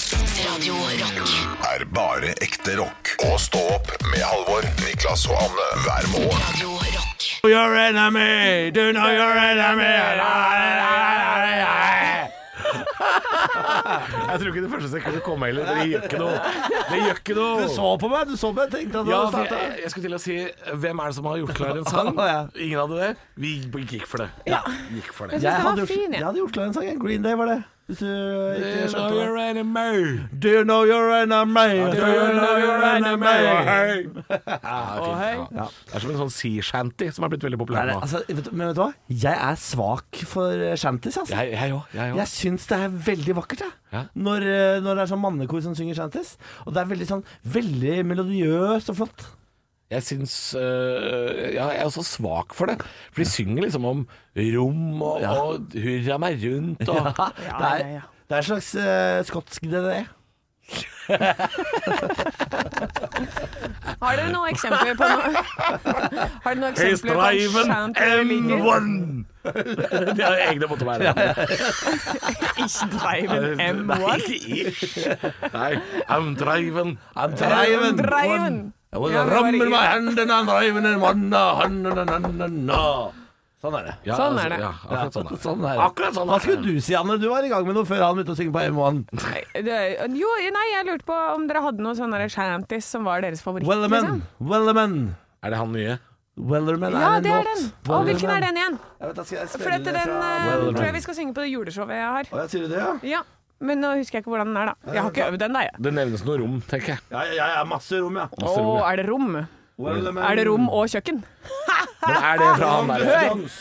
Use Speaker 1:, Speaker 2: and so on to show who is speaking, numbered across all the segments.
Speaker 1: Radio Rock.
Speaker 2: er bare ekte rock. Og stå opp med Halvor, Niklas og Anne hver morgen.
Speaker 1: Radio Rock.
Speaker 3: your enemy. Do know your enemy.
Speaker 4: Jeg tror ikke det første sekundet kom heller. Det gjør ikke noe. Det gjør ikke noe.
Speaker 3: Du så på meg, du så på meg. Tenkte at du
Speaker 4: ja,
Speaker 3: hadde
Speaker 4: for
Speaker 3: starta.
Speaker 4: jeg, jeg skulle til å si Hvem er det som har gjort klar en sang?
Speaker 3: Ja.
Speaker 4: Ingen hadde det. Vi gikk for det.
Speaker 3: Ja.
Speaker 4: Gikk for det.
Speaker 5: Jeg synes den
Speaker 3: hadde
Speaker 5: var
Speaker 3: gjort-
Speaker 5: fin, jeg.
Speaker 3: jeg hadde gjort klar en sang. jeg. Green Day var det. Hvis du eh, ikke skjønte det.
Speaker 4: enemy.
Speaker 3: Do you know your enemy? Do you know your enemy?
Speaker 4: Ja. Det er som en sånn sea shanty som er blitt veldig
Speaker 3: Nei,
Speaker 4: populær
Speaker 3: nei,
Speaker 4: nå.
Speaker 3: altså, vet, du- men vet du hva? Jeg er svak for eh, shanties, altså.
Speaker 4: Jeg jeg òg. Jeg
Speaker 3: Jeg
Speaker 4: òg.
Speaker 3: syns det er veldig vakkert, jeg.
Speaker 4: Ja.
Speaker 3: Når, eh, når det er sånn mannekor som synger shanties. Og det er veldig sånn veldig melodiøst og flott.
Speaker 4: Jeg syns øh, ja, Jeg er også svak for det. For de synger liksom om rom og, og hurra meg rundt og
Speaker 3: det, er,
Speaker 5: ja, ja.
Speaker 3: det er en slags eh, skotsk DDE.
Speaker 5: Har dere noen eksempler på noe Har dere noen eksempler på en chant dere liker?
Speaker 4: M1! De har egne motorveier.
Speaker 5: Ikke driven M1.
Speaker 4: Ikke ish. Nei, I'm driving. I'm
Speaker 3: Driven.
Speaker 5: Driven.
Speaker 4: I was
Speaker 5: Ja, det var
Speaker 4: ramming
Speaker 5: det.
Speaker 4: my hand and I'm driving in one, uh, hand and and and and, uh.
Speaker 3: Sånn er det.
Speaker 4: Ja,
Speaker 5: Sånn er
Speaker 4: altså, Ja,
Speaker 5: det.
Speaker 4: akkurat sånn er det.
Speaker 3: Sånn er det.
Speaker 4: Akkurat sånn
Speaker 3: Hva
Speaker 4: er
Speaker 3: skulle
Speaker 4: det.
Speaker 3: du si, Anne? Du var i gang med noe før han begynte å synge på M1.
Speaker 5: Nei, det- Jo, nei, jeg lurte på om dere hadde noen sånne shanties som var deres favoritt.
Speaker 3: Wellerman,
Speaker 5: liksom.
Speaker 3: Wellerman.
Speaker 4: Er det han nye?
Speaker 3: Wellerman er
Speaker 5: Ja,
Speaker 3: en
Speaker 5: det er
Speaker 3: låt.
Speaker 5: den. Å, hvilken er
Speaker 3: Wellerman.
Speaker 5: den igjen?
Speaker 3: Jeg vet, da skal jeg
Speaker 5: For
Speaker 3: spille
Speaker 5: dette,
Speaker 3: det
Speaker 5: den eh,
Speaker 3: fra
Speaker 5: tror jeg vi skal synge på det juleshowet jeg har.
Speaker 3: Å, jeg sier det, ja?
Speaker 5: Ja, Men nå husker jeg ikke hvordan den er, da. Jeg har ikke øvd den, da. jeg.
Speaker 4: Det nevnes noe rom, tenker jeg.
Speaker 3: Ja, ja, ja, masse rom, ja.
Speaker 5: Å, er det rom?
Speaker 3: Wellerman.
Speaker 5: Er det rom og kjøkken?
Speaker 4: Men er det fra han der?
Speaker 5: Hør!
Speaker 3: Jones.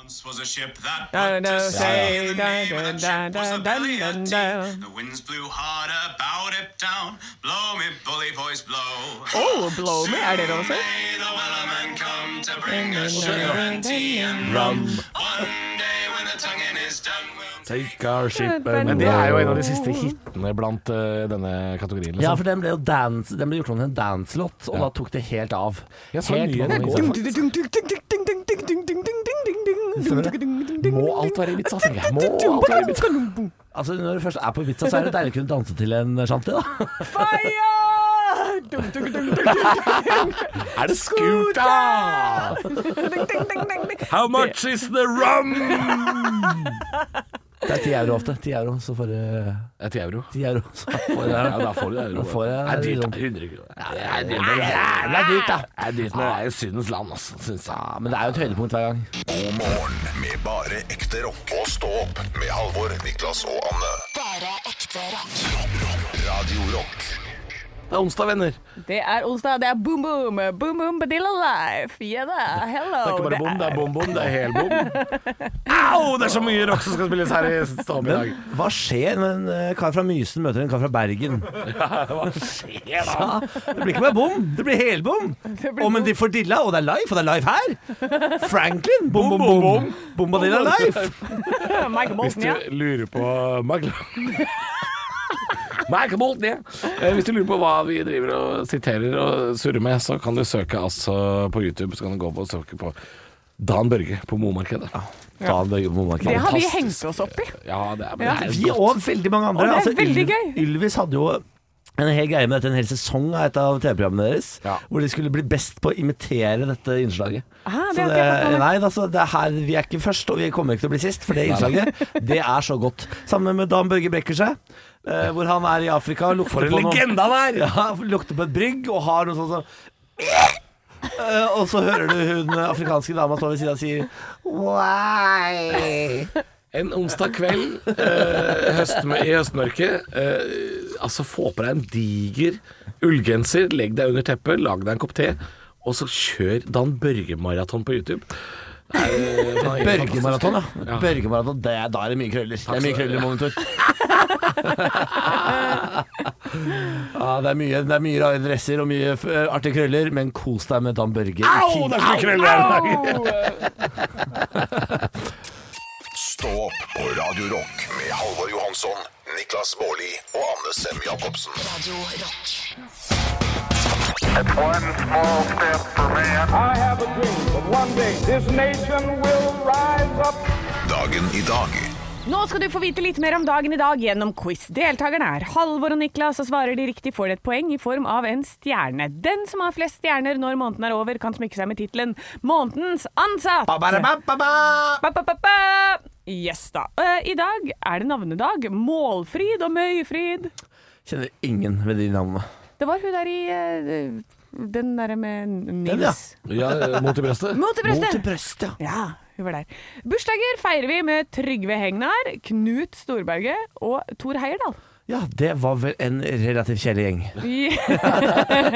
Speaker 6: Once was a ship that
Speaker 5: Da,
Speaker 6: put
Speaker 5: da,
Speaker 6: to
Speaker 5: say,
Speaker 6: sea. The
Speaker 5: da,
Speaker 6: name of that
Speaker 5: da,
Speaker 6: ship was
Speaker 5: da,
Speaker 6: the
Speaker 5: da,
Speaker 6: Billy
Speaker 5: da,
Speaker 6: of
Speaker 5: da.
Speaker 6: Tea. The winds blew hard about it down. Blow me, bully voice, blow.
Speaker 5: Oh, blow me. Er det det også?
Speaker 6: May the wellerman come to bring us sugar and tea and rum. One day when the tonguing is done, we'll
Speaker 4: Take our ship
Speaker 5: Men
Speaker 4: Det er jo en av de siste hitene blant eh, denne kategorien.
Speaker 3: Ja,
Speaker 4: Liksom.
Speaker 3: for den ble jo dance, den ble gjort om til en danselåt, og da tok det helt av.
Speaker 4: Jeg så
Speaker 3: Helt
Speaker 4: nyere
Speaker 3: vanlig.
Speaker 4: i går, faktisk. Må alt være i vitsa, tenker jeg. Må alt være i vitsa.
Speaker 3: Altså, når du først er på vitsa, så er det deilig å kunne danse til en shanty, da.
Speaker 5: Fire! Dum, dum, dum, dum, dum,
Speaker 4: Er det skuta?
Speaker 5: dum, dum, dum, dum.
Speaker 4: How much is the rum?
Speaker 3: Det er ti euro ofte. Ti euro, så får du
Speaker 4: Det er 10 euro.
Speaker 3: Ti euro, så får du
Speaker 4: Ja, da får du det.
Speaker 3: Da får jeg
Speaker 4: det er dyrt,
Speaker 3: liksom-
Speaker 4: da. 100 kroner. Det er dyrt, men det er-
Speaker 3: Jævla dyrt, da.
Speaker 4: det er dyrt, men det er jo syndens land, altså, syns jeg.
Speaker 3: Ja, men det er jo et høydepunkt hver gang.
Speaker 2: God morgen med bare ekte rock. Og stå opp med Halvor, Niklas og Anne.
Speaker 1: Bare ekte rock.
Speaker 2: Radio Rock
Speaker 4: Det er onsdag, venner. Det
Speaker 5: Det er onsdag, det er boom boom, boom boom badilla life. Yeah da, hello.
Speaker 4: er ikke bare bom, det er
Speaker 5: er-
Speaker 4: bom-bom, det er hel bom. Au! Det er så mye rock som skal spilles her i Stabel i dag.
Speaker 3: Hva skjer når en eh, kar fra Mysen møter en kar fra Bergen?
Speaker 4: Hva skjer da?
Speaker 3: Ja, det blir ikke bare bom, det blir helbom.
Speaker 5: blir
Speaker 3: Å, men de får dilla, og det er live, og det er live her. Franklin, bom, bom, bom. Bombadilla live.
Speaker 5: Michael
Speaker 4: Hvis
Speaker 5: Bolton,
Speaker 4: du
Speaker 5: ja.
Speaker 4: lurer på Michael Michael Bolton, ja. Eh, Hvis du lurer på hva vi driver og siterer og surrer med, så kan du søke altså på YouTube. Så kan du gå på og søke på Dan Børge på Momarkedet.
Speaker 3: Da bøyer Momarken.
Speaker 5: Det har vi
Speaker 4: fantastisk.
Speaker 5: hengt oss opp i.
Speaker 4: Ja, det er, men
Speaker 5: Ja.
Speaker 4: det er
Speaker 3: Vi og veldig mange andre.
Speaker 5: Og det er
Speaker 3: Altså,
Speaker 5: veldig
Speaker 3: Ylv-
Speaker 5: gøy.
Speaker 3: Ylvis hadde jo en hel greie med dette, en hel sesong av et av TV-programmene deres.
Speaker 4: Ja.
Speaker 3: Hvor de skulle bli best på å imitere dette innslaget.
Speaker 5: Ah, det
Speaker 3: så
Speaker 5: har ikke jeg fått med meg.
Speaker 3: nei, altså, det er her, vi er ikke først, og vi kommer ikke til å bli sist, for det innslaget det er så godt. Sammen med Dan Børge Brekkerse, eh, hvor han er i Afrika og lukter,
Speaker 4: For en
Speaker 3: på, noen,
Speaker 4: legende han er!
Speaker 3: ja, lukter på et brygg og har noe sånt som Eh, og så hører du hun afrikanske dama stå ved siden av og sier Why?
Speaker 4: En onsdag kveld eh, høstm i høstmørket. eh, altså, få på deg en diger ullgenser, legg deg under teppet, lag deg en kopp te, og så kjør Dan Børge-maraton på YouTube. Det er, eh, fan-
Speaker 3: Børgemaraton, ja.
Speaker 4: Ja.
Speaker 3: Børgemaraton, det er, da er det mye krøller. Det er mye krøller i monitor. ja, det er mye, det er mye rare dresser og mye eh, artige krøller, men kos deg med Dan Børge. i
Speaker 4: Au!
Speaker 3: ti-
Speaker 4: Det er så mye krøller her i dag.
Speaker 2: Stå opp på Radio Rock med Halvor Johansson, Niklas Baarli og Anne Sem Jacobsen.
Speaker 1: Radio Rock.
Speaker 7: One small step for man.
Speaker 8: I have a dream that one day this nation will rise up.
Speaker 2: Dagen i dag
Speaker 5: Nå skal du få vite litt mer om dagen i dag gjennom quiz. Deltakerne er Halvor og Niklas, og svarer de riktig får de et poeng i form av en stjerne. Den som har flest stjerner når måneden er over, kan smykke seg med tittelen 'Månedens ansatt'.
Speaker 3: Ba-ba-da-ba-ba-ba!
Speaker 5: Ba, ba, ba, ba. Yes da. Eh, I dag er det navnedag. Målfrid og Møyfrid.
Speaker 3: Kjenner ingen ved de navnene.
Speaker 5: Det var hun der i eh, den derre med Nils.
Speaker 3: Den,
Speaker 4: Ja,
Speaker 3: ja.
Speaker 4: eh, mot i brøstet.
Speaker 5: Mot i brøstet!
Speaker 3: Mot i brøstet, ja.
Speaker 5: Ja, hun var der. Bursdager feirer vi med Trygve Hegnar, Knut Storberget og Tor Heierdal.
Speaker 3: Ja, det var vel en relativt kjedelig gjeng.
Speaker 5: Nei,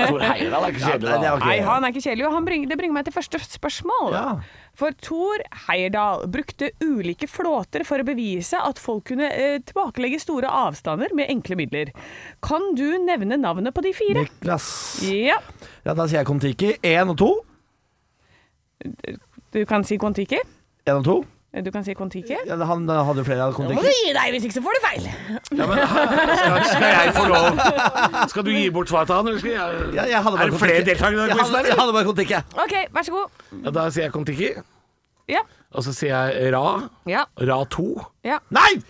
Speaker 4: Tor Heyerdahl er ikke kjedelig,
Speaker 3: det
Speaker 4: da.
Speaker 3: er ok.
Speaker 5: han er ikke kjedelig, og han bringer, det bringer meg til første spørsmål.
Speaker 3: Ja.
Speaker 5: For Tor Heierdal brukte ulike flåter for å bevise at folk kunne eh, tilbakelegge store avstander med enkle midler. Kan du nevne navnet på de fire?
Speaker 3: Niklas.
Speaker 5: Ja,
Speaker 3: Ja, da sier jeg Kon-Tiki. Én og to.
Speaker 5: du kan si Kon-Tiki. Eh,
Speaker 3: En og to.
Speaker 5: Du kan si Kon-Tiki.
Speaker 3: Ja, han eh, hadde jo flere av
Speaker 5: Nå må
Speaker 3: Kon-Tiki.
Speaker 5: du gi deg, hvis ikke så får du feil!
Speaker 4: Skal, skal jeg få lov Skal du gi bort svar til han, eller skal jeg,
Speaker 3: Ja, jeg hadde bare
Speaker 4: Er det flere
Speaker 3: Kon-Tiki.
Speaker 4: deltakere i
Speaker 3: Jeg
Speaker 4: denne quizen,
Speaker 3: hadde- Jeg
Speaker 4: eller?
Speaker 3: hadde bare Kon-Tiki.
Speaker 5: OK, vær så god.
Speaker 4: Ja, Da sier jeg Kon-Tiki,
Speaker 5: Ja.
Speaker 4: og så sier jeg Ra.
Speaker 5: Ja.
Speaker 4: Ra 2.
Speaker 5: ja.
Speaker 3: Nei!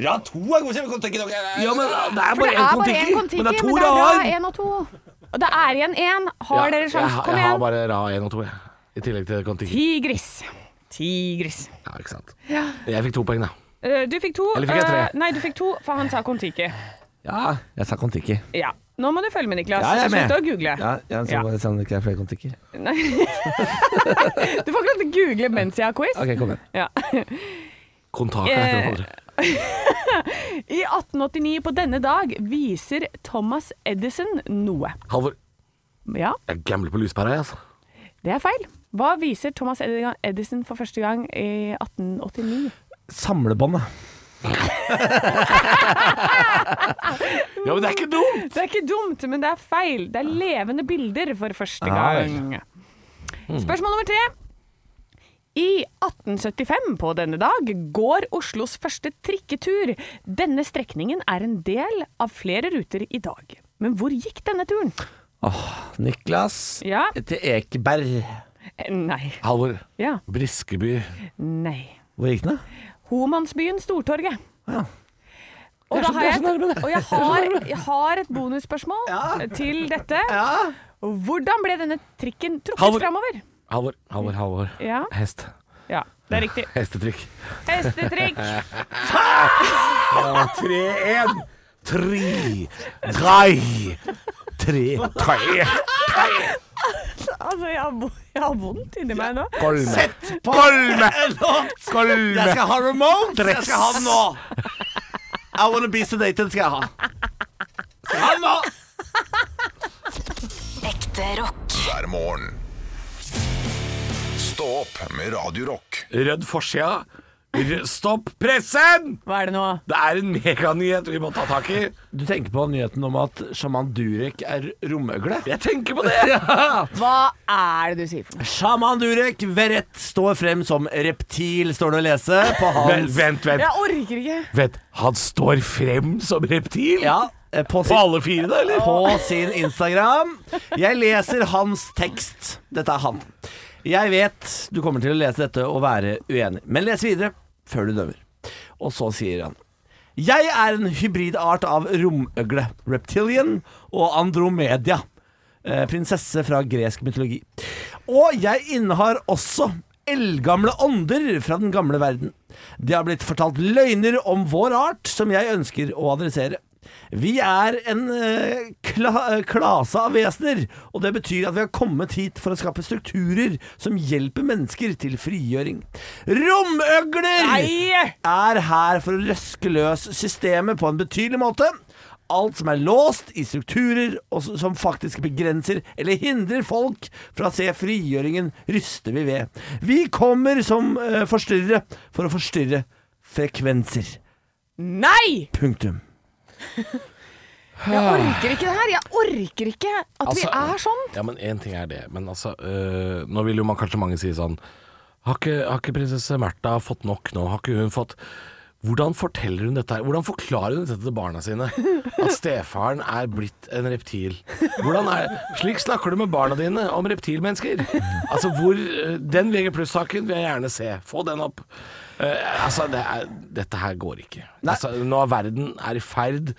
Speaker 2: Rad 2 er godkjent med Kon-Tiki.
Speaker 4: Ja, men det er
Speaker 5: For
Speaker 4: bare
Speaker 5: det
Speaker 4: én
Speaker 5: er bare én
Speaker 4: Kon-Tiki.
Speaker 5: Kon-Tiki,
Speaker 4: Men det er to
Speaker 5: Ra,
Speaker 4: Ra-er.
Speaker 5: én og to. Og det er igjen én. Har
Speaker 4: Ja,
Speaker 5: dere sjans?
Speaker 4: jeg-
Speaker 5: Kom
Speaker 4: Jeg har
Speaker 5: igjen.
Speaker 4: bare Ra 1 og 2, jeg. I tillegg til Kon-Tiki.
Speaker 5: Tigris. Tigris.
Speaker 4: Ja, ikke sant. Jeg fikk to poeng, da.
Speaker 5: Eh, Du fikk to.
Speaker 4: Eller fikk jeg tre?
Speaker 5: eh, Nei, du fikk to, for han sa Kon-Tiki.
Speaker 3: Ja, jeg sa Kon-Tiki.
Speaker 5: Ja. Nå må du følge med, Niklas.
Speaker 3: Ja, jeg er med.
Speaker 5: Slutt å google.
Speaker 3: Ja, jeg så
Speaker 5: Ja.
Speaker 3: bare sånn at det ikke er flere Kon-Tiki.
Speaker 5: Du får ikke lov til å google mens jeg har quiz.
Speaker 3: Ok, kom igjen.
Speaker 5: Ja.
Speaker 4: Kontakt
Speaker 5: Eh,
Speaker 4: etter hverandre.
Speaker 5: I 1889 på denne dag viser Thomas Edison noe.
Speaker 4: Halvor,
Speaker 5: Ja,
Speaker 4: jeg gambler på lyspæra, jeg, altså.
Speaker 5: det er feil. Hva viser Thomas Edi- Edison for første gang i 1889?
Speaker 3: Samlebåndet.
Speaker 4: Ja, men det er ikke dumt!
Speaker 5: Det er ikke dumt, men det er feil. Det er levende bilder for første
Speaker 3: Nei.
Speaker 5: gang. Spørsmål nummer tre. I 1875 på denne dag går Oslos første trikketur. Denne strekningen er en del av flere ruter i dag. Men hvor gikk denne turen?
Speaker 3: Niklas
Speaker 5: Ja.
Speaker 3: til Ekeberg.
Speaker 5: Eh, Nei.
Speaker 4: Halvor,
Speaker 5: Ja.
Speaker 4: Briskeby
Speaker 5: Nei.
Speaker 3: Hvor gikk den, da?
Speaker 5: Homansbyen Stortorget.
Speaker 3: Ja.
Speaker 5: Og,
Speaker 3: Det er
Speaker 5: da
Speaker 3: så- det
Speaker 5: har
Speaker 3: er
Speaker 5: jeg,
Speaker 3: så nærme, det.
Speaker 5: og jeg, har, jeg har et bonusspørsmål til dette. Hvordan ble denne trikken
Speaker 4: Halvor.
Speaker 5: trukket framover?
Speaker 4: Halvor, Halvor, Halvor.
Speaker 5: Ja.
Speaker 4: Hest.
Speaker 5: Ja, det er riktig.
Speaker 4: Hestetrykk.
Speaker 5: Hestetrikk.
Speaker 4: 3-1. Tre, drei, tre, tre,
Speaker 5: Altså, jeg har, vo- jeg har vondt inni meg nå.
Speaker 4: kolme. Sett på kolme.
Speaker 3: Jeg skal ha Ramones! Jeg skal ha den nå! I Wanna Be Sedated skal jeg ha. Skal jeg ha den nå!
Speaker 1: Ekte rock.
Speaker 2: Hver morgen. Stå opp med Radio Rock.
Speaker 4: Rødd forsida. Rød- Stopp pressen!
Speaker 5: Hva er det nå?
Speaker 4: Det er en meganyhet vi må ta tak i.
Speaker 3: Du tenker på nyheten om at sjaman Durek er romøgle?
Speaker 4: Jeg tenker på det!
Speaker 5: Hva er det du sier for noe?
Speaker 3: Sjaman Durek Verrett står frem som reptil, står det å lese på
Speaker 4: Vent,
Speaker 3: hans
Speaker 4: vent. vent.
Speaker 5: Jeg orker ikke.
Speaker 4: Vent, han står frem som reptil?
Speaker 3: Ja, eh, på
Speaker 4: På
Speaker 3: sin,
Speaker 4: alle fire, da, eller?
Speaker 3: på sin Instagram. Jeg leser hans tekst. Dette er han. Jeg vet du kommer til å lese dette og være uenig, men les videre før du dømmer. Og så sier han Jeg er en hybridart av romøgle, reptilian og andromedia. eh, Prinsesse fra gresk mytologi. Og jeg innehar også eldgamle ånder fra den gamle verden. Det har blitt fortalt løgner om vår art som jeg ønsker å adressere. Vi er en eh, kla eh, klase av vesener, og det betyr at vi har kommet hit for å skape strukturer som hjelper mennesker til frigjøring. Romøgler!
Speaker 5: Nei!
Speaker 3: er her for å røske løs systemet på en betydelig måte. Alt som er låst i strukturer og s- som faktisk begrenser eller hindrer folk fra å se frigjøringen, ryster vi ved. Vi kommer som eh, forstyrrere for å forstyrre frekvenser.
Speaker 5: Nei!
Speaker 3: Punktum.
Speaker 5: Jeg orker ikke det her. Jeg orker ikke at
Speaker 4: Altså-
Speaker 5: vi er sånn.
Speaker 4: Ja, men én ting er det. Men altså, øh, nå vil jo man kanskje mange si sånn har ikke, har ikke prinsesse Märtha fått nok nå? Har ikke hun fått Hvordan forteller hun dette? her? Hvordan forklarer hun dette til barna sine? At stefaren er blitt en reptil. Hvordan er, slik snakker du med barna dine om reptilmennesker. Altså hvor, øh, Den VG pluss-saken vil jeg gjerne se. Få den opp. Eh, altså, det er, dette her går ikke.
Speaker 3: Nei.
Speaker 4: Altså, nå er verden er i ferd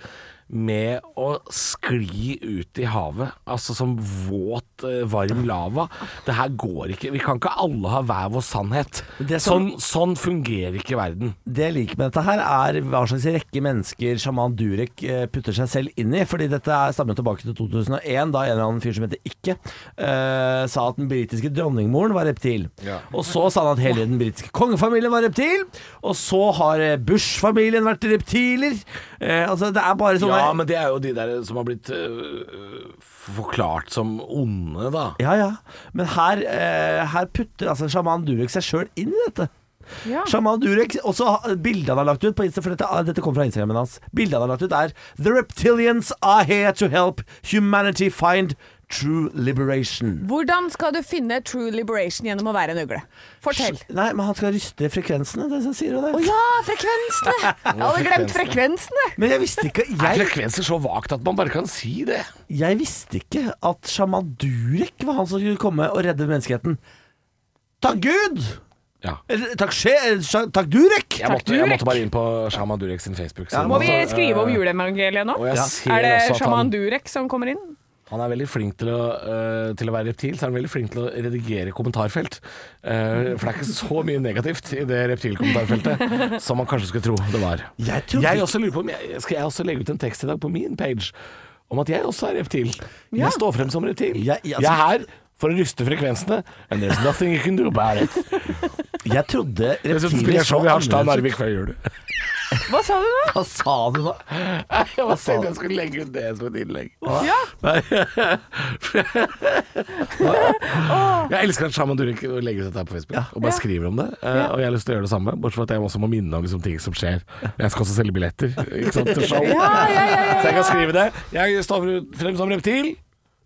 Speaker 4: med å skli ut i havet, altså som våt, eh, varm lava. Det her går ikke. Vi kan ikke alle ha hver vår sannhet.
Speaker 3: Det som-
Speaker 4: sånn, sånn fungerer ikke verden.
Speaker 3: Det jeg liker med dette her, er hva slags rekke mennesker sjaman Durek eh, putter seg selv inn i. Fordi dette er- stammer tilbake til 2001, da en eller annen fyr som heter Ikke, eh, sa at den britiske dronningmoren var reptil. Og så sa han at hele den britiske kongefamilien var reptil. Og så har eh, Bush-familien vært reptiler. Eh, altså, det er bare sånne
Speaker 4: Ja, men det er jo de der som har blitt eh, forklart som onde, da.
Speaker 3: ja, ja. Men her, eh, her putter altså sjaman Durek seg sjøl inn i dette.
Speaker 5: Ja.
Speaker 3: Sjaman Durek, også ha- bildet han har lagt ut på Insta, for dette, ah, dette kommer fra Instagramen hans. Bildet han har lagt ut er The reptilians are here to help humanity find true liberation.
Speaker 5: Hvordan skal du finne true liberation gjennom å være en ugle? Fortell.
Speaker 3: Nei, men han skal ryste frekvensene, det som sier jo det.
Speaker 5: Å ja, frekvensene! Jeg hadde glemt frekvensene.
Speaker 3: Men jeg visste ikke
Speaker 4: Er
Speaker 3: jeg,
Speaker 4: frekvenser så vagt at man bare kan si det?
Speaker 3: jeg visste ikke at sjaman Durek var han som skulle komme og redde menneskeheten. Takk Gud!
Speaker 4: Ja.
Speaker 3: Eller, Takk, sje, sja- takk Durek!
Speaker 4: Jeg måtte, jeg måtte bare inn på Shaman Durek sin Facebook.
Speaker 3: Ja,
Speaker 5: Må vi skrive om juleevangeliet nå?
Speaker 4: Og jeg ser
Speaker 5: Er det
Speaker 4: også at
Speaker 5: sjaman
Speaker 4: han,
Speaker 5: Durek som kommer inn?
Speaker 4: han er veldig flink til å, øh, til å være reptil, så er han veldig flink til å redigere kommentarfelt. Eh, for det er ikke så mye negativt i det reptilkommentarfeltet som man kanskje skulle tro det var.
Speaker 3: Jeg trodde
Speaker 4: Jeg
Speaker 3: ikke-
Speaker 4: også lurer på om jeg, Skal jeg også legge ut en tekst i dag på min page om at jeg også er reptil? Jeg står frem som reptil.
Speaker 3: Jeg- jeg-
Speaker 4: jeg er her for å ryste frekvensene, and there's nothing you can do about it.
Speaker 3: Jeg trodde
Speaker 4: Dessuten
Speaker 3: reptiler
Speaker 4: spiller jeg
Speaker 3: så
Speaker 4: show i Harstad og
Speaker 3: annerledes ut.
Speaker 4: Narvik før jul.
Speaker 5: Hva sa du nå?
Speaker 3: Hva sa du nå?
Speaker 4: Jeg bare tenkte jeg skulle legge ut det som et innlegg.
Speaker 5: Ja.
Speaker 4: Nei Jeg elsker at Shaman Durek legger ut dette her på Facebook og bare skriver om det. eh, Og jeg har lyst til å gjøre det samme, bortsett fra at jeg også må minne om liksom, ting som skjer. Jeg skal også selge billetter ikke sant, til show. Så jeg kan skrive det. Jeg står frem som reptil.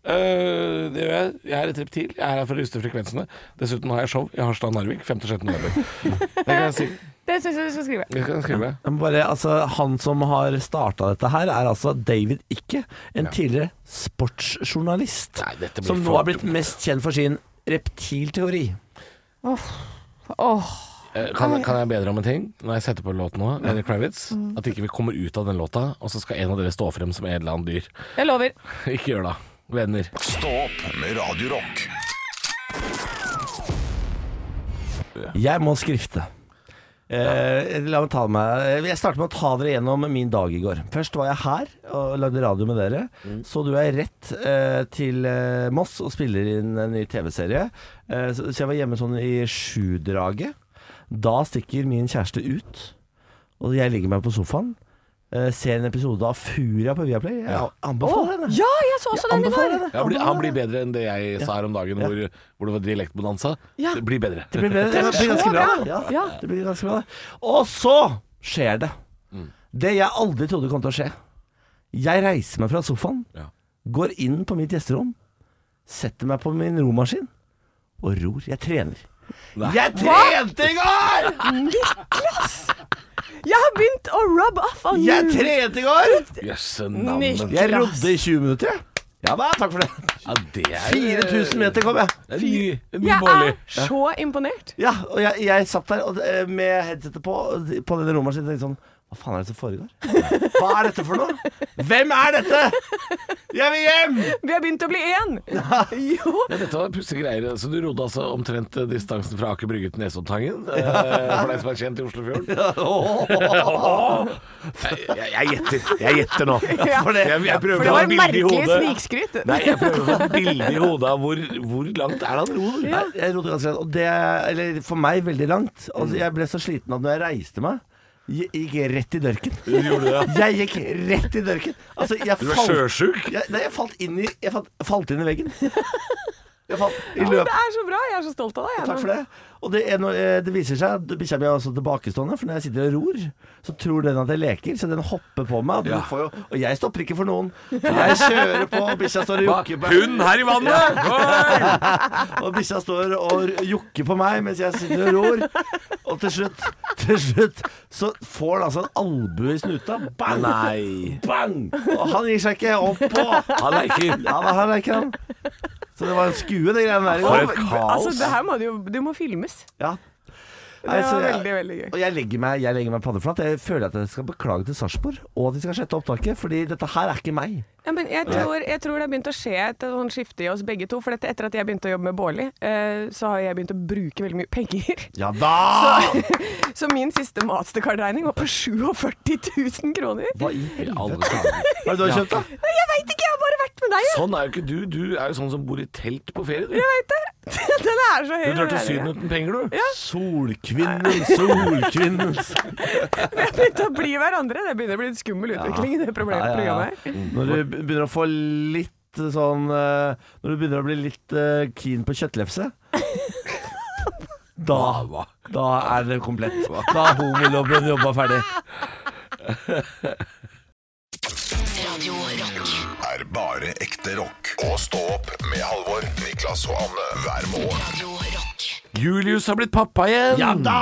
Speaker 4: Eh, det gjør jeg. Jeg er et reptil. Jeg er her for å ruste frekvensene. Dessuten har jeg show i Harstad og Narvik 5.-6. november. Det kan jeg, si.
Speaker 5: Det syns jeg du skal skrive.
Speaker 4: det kan jeg skrive.
Speaker 3: Jeg må Bare, altså, han som har starta dette her, er altså David Ikke, en tidligere sportsjournalist.
Speaker 4: Nei, dette blir
Speaker 3: som nå
Speaker 4: for
Speaker 3: har blitt mest kjent for sin reptilteori.
Speaker 5: Åh,
Speaker 4: Eh, Kan, kan jeg bedre om en ting? Når jeg setter på låten nå, Lenny Kravitz,
Speaker 5: Mm.
Speaker 4: at ikke vi kommer ut av den låta, og så skal en av dere stå frem som et eller annet dyr.
Speaker 5: jeg lover.
Speaker 4: Ikke gjør det, venner.
Speaker 2: Stå opp med Radio Rock.
Speaker 3: Jeg må skrifte. Eh, la meg ta meg eh, Jeg starter med å ta dere gjennom min dag i går. Først var jeg her og lagde radio med dere.
Speaker 4: Mm.
Speaker 3: Så dro jeg rett eh, til eh, Moss og spiller inn en ny TV-serie. Eh, så, så jeg var hjemme sånn i sjudraget. Da stikker min kjæreste ut, og jeg ligger meg på sofaen. eh, ser en episode av Furia på Viaplay. Jeg anbefaler henne.
Speaker 5: Ja, jeg så også den i
Speaker 3: Anbefaler
Speaker 5: går.
Speaker 3: henne.
Speaker 4: han, blir, han
Speaker 3: Anbefaler
Speaker 4: blir
Speaker 3: henne.
Speaker 4: bedre enn det jeg sa her om dagen, hvor, hvor det var dialektbonanza.
Speaker 5: Ja.
Speaker 4: Det blir bedre.
Speaker 3: Det blir, bedre. det blir ganske bra.
Speaker 5: bra.
Speaker 3: Ja,
Speaker 5: Ja.
Speaker 3: det blir ganske bra. Og så skjer det. Det jeg aldri trodde kom til å skje. Jeg reiser meg fra sofaen,
Speaker 4: Ja.
Speaker 3: går inn på mitt gjesterom, setter meg på min romaskin og ror. Jeg trener. Jeg trente i går!
Speaker 5: Jeg har begynt å rub off on
Speaker 3: Jeg
Speaker 5: you.
Speaker 3: trente i går!
Speaker 4: Jøsse navnet.
Speaker 3: Jeg rodde i 20 minutter, jeg. Ja da, takk for det.
Speaker 4: Ja, det er
Speaker 3: 4000 meter kom jeg.
Speaker 4: Det er ny- ny
Speaker 5: Jeg
Speaker 4: målig.
Speaker 5: er så imponert.
Speaker 3: Ja, og jeg, jeg satt der og, eh, med headsetet på og de- På denne romaskinen og tenkte sånn Hva faen er det som foregår? Hva er dette for noe? Hvem er dette? Jeg vil hjem!
Speaker 5: Vi har begynt å bli én. Jo.
Speaker 4: Ja, dette var pussige greier. Så du rodde altså omtrent eh, distansen fra Aker Brygge til Nesoddtangen? eh, For deg som er kjent i Oslofjorden? Jeg- Jeg jeg gjetter. Jeg gjetter nå.
Speaker 5: Ja.
Speaker 3: For det,
Speaker 4: Jeg, jeg prøver
Speaker 5: For det
Speaker 4: å ha
Speaker 5: var
Speaker 4: et bilde i
Speaker 5: merkelig
Speaker 4: hodet.
Speaker 5: snikskryt.
Speaker 4: Nei, jeg prøver å få et bilde i hodet av hvor, hvor langt er det han ror?
Speaker 3: Nei, jeg rodde ganske langt. Og det, eller for meg, veldig langt. Altså, jeg ble så sliten at når jeg reiste meg jeg gikk jeg rett i dørken. Jeg gikk rett i dørken. Altså, jeg
Speaker 4: Du er
Speaker 3: falt,
Speaker 4: sjøsjuk?
Speaker 3: jeg, nei, jeg falt inn i Jeg falt, falt inn i veggen. Jeg falt i
Speaker 5: Men
Speaker 3: løpet
Speaker 5: Det er så bra. Jeg er så stolt av deg. jeg nå.
Speaker 3: Takk for det. Og det, er noe, eh, det viser seg at bikkja mi er også tilbakestående, for når jeg sitter og ror, så tror den at jeg leker, så den hopper på meg. Og, den får jo, og jeg stopper ikke for noen. Jeg kjører på, og bikkja står og jokker på
Speaker 4: Hund her i vannet! Oi!
Speaker 3: og bikkja står og jokker på meg mens jeg sitter og ror. Og til slutt, til slutt så får han altså en albue i snuta. Bang!
Speaker 4: Nei.
Speaker 3: Bang! Og han gir seg ikke opp på.
Speaker 4: Han er ikke
Speaker 3: Ja, da, her leker han. Så det var en skue, det greiene der. i
Speaker 4: For
Speaker 3: går.
Speaker 4: et kaos.
Speaker 5: Altså, det her må du jo Du må filmes.
Speaker 3: Ja.
Speaker 5: Det
Speaker 3: Altså,
Speaker 5: var
Speaker 3: jeg-
Speaker 5: veldig, veldig gøy.
Speaker 3: Og jeg legger meg, jeg legger meg paddeflat. Jeg føler at jeg skal beklage til Sarpsborg, og at de skal slette opptaket, fordi dette her er ikke meg.
Speaker 5: Ja, men jeg, tror, jeg tror det har begynt å skje et sånn skifte i oss begge to. For dette, etter at jeg begynte å jobbe med Bårli, eh, så har jeg begynt å bruke veldig mye penger.
Speaker 3: Ja da!
Speaker 5: Så min siste Mastercard-regning var på 47 000 kroner.
Speaker 3: Hva i
Speaker 4: I alle dager.
Speaker 3: Hva er det du har kjøpt, da?
Speaker 5: Jeg veit ikke, jeg har bare vært med deg, jeg.
Speaker 4: Sånn er jo ikke du. Du er jo sånn som bor i telt på ferie. Du,
Speaker 5: Jeg vet det. Den er så høy.
Speaker 4: du drar
Speaker 5: den
Speaker 4: til
Speaker 5: der.
Speaker 4: Syden uten penger, du.
Speaker 3: Solkvinnen, solkvinnen.
Speaker 5: Begynte å bli hverandre. Det begynner å bli en skummel utvikling i det problemet,
Speaker 3: Ja, Mm. ja, ja.
Speaker 5: programmet her.
Speaker 3: Når du begynner å få litt sånn eh, Når du begynner å bli litt eh, keen på kjøttlefse da, da er det komplett. Da har homolobbyen jobba ferdig.
Speaker 1: Radio Rock.
Speaker 2: er bare ekte rock. Og stå opp med Halvor, Niklas og Anne hver morgen.
Speaker 1: Radio Rock.
Speaker 4: Julius har blitt pappa igjen. Ja da!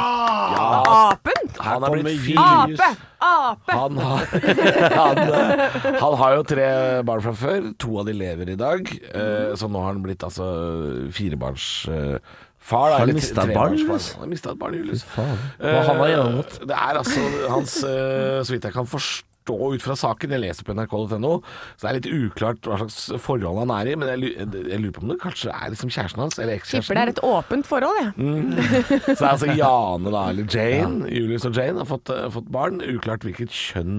Speaker 5: Apen!
Speaker 4: Han er blitt fyr.
Speaker 5: Ape! Ape!
Speaker 4: Han har, han, eh, han har jo tre barn fra før. To av de lever i dag. Eh, så nå har han blitt altså eh, firebarnsfar. Har
Speaker 3: han mistet et barn, Julius?
Speaker 4: Han har mista et barn, Julius.
Speaker 3: Hva han har
Speaker 4: Eh,
Speaker 3: gjennomgått.
Speaker 4: Det er altså hans eh, Så vidt jeg kan forstå ut fra saken, jeg leser på nrk.no, så det er litt uklart hva slags forhold han er i, men jeg, lu- jeg lurer på om det kanskje er liksom kjæresten hans, eller
Speaker 5: Tipper det er
Speaker 4: ekskjæresten.
Speaker 5: et åpent forhold,
Speaker 3: Mm,
Speaker 5: jeg.
Speaker 4: Så det er altså Jane, da, eller Jane, Julius og Jane har fått, eh, fått barn. Uklart hvilket kjønn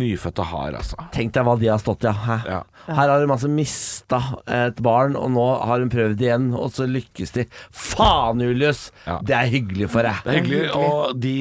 Speaker 4: det nyfødte har, altså.
Speaker 3: Tenk deg hva de har stått i. Ja. Hæ?
Speaker 4: Ja.
Speaker 3: Her har hun altså mista et barn, og nå har hun prøvd igjen, og så lykkes de. Faen, Julius!
Speaker 4: Ja.
Speaker 3: Det er hyggelig for deg.
Speaker 4: Det er hyggelig. Og de,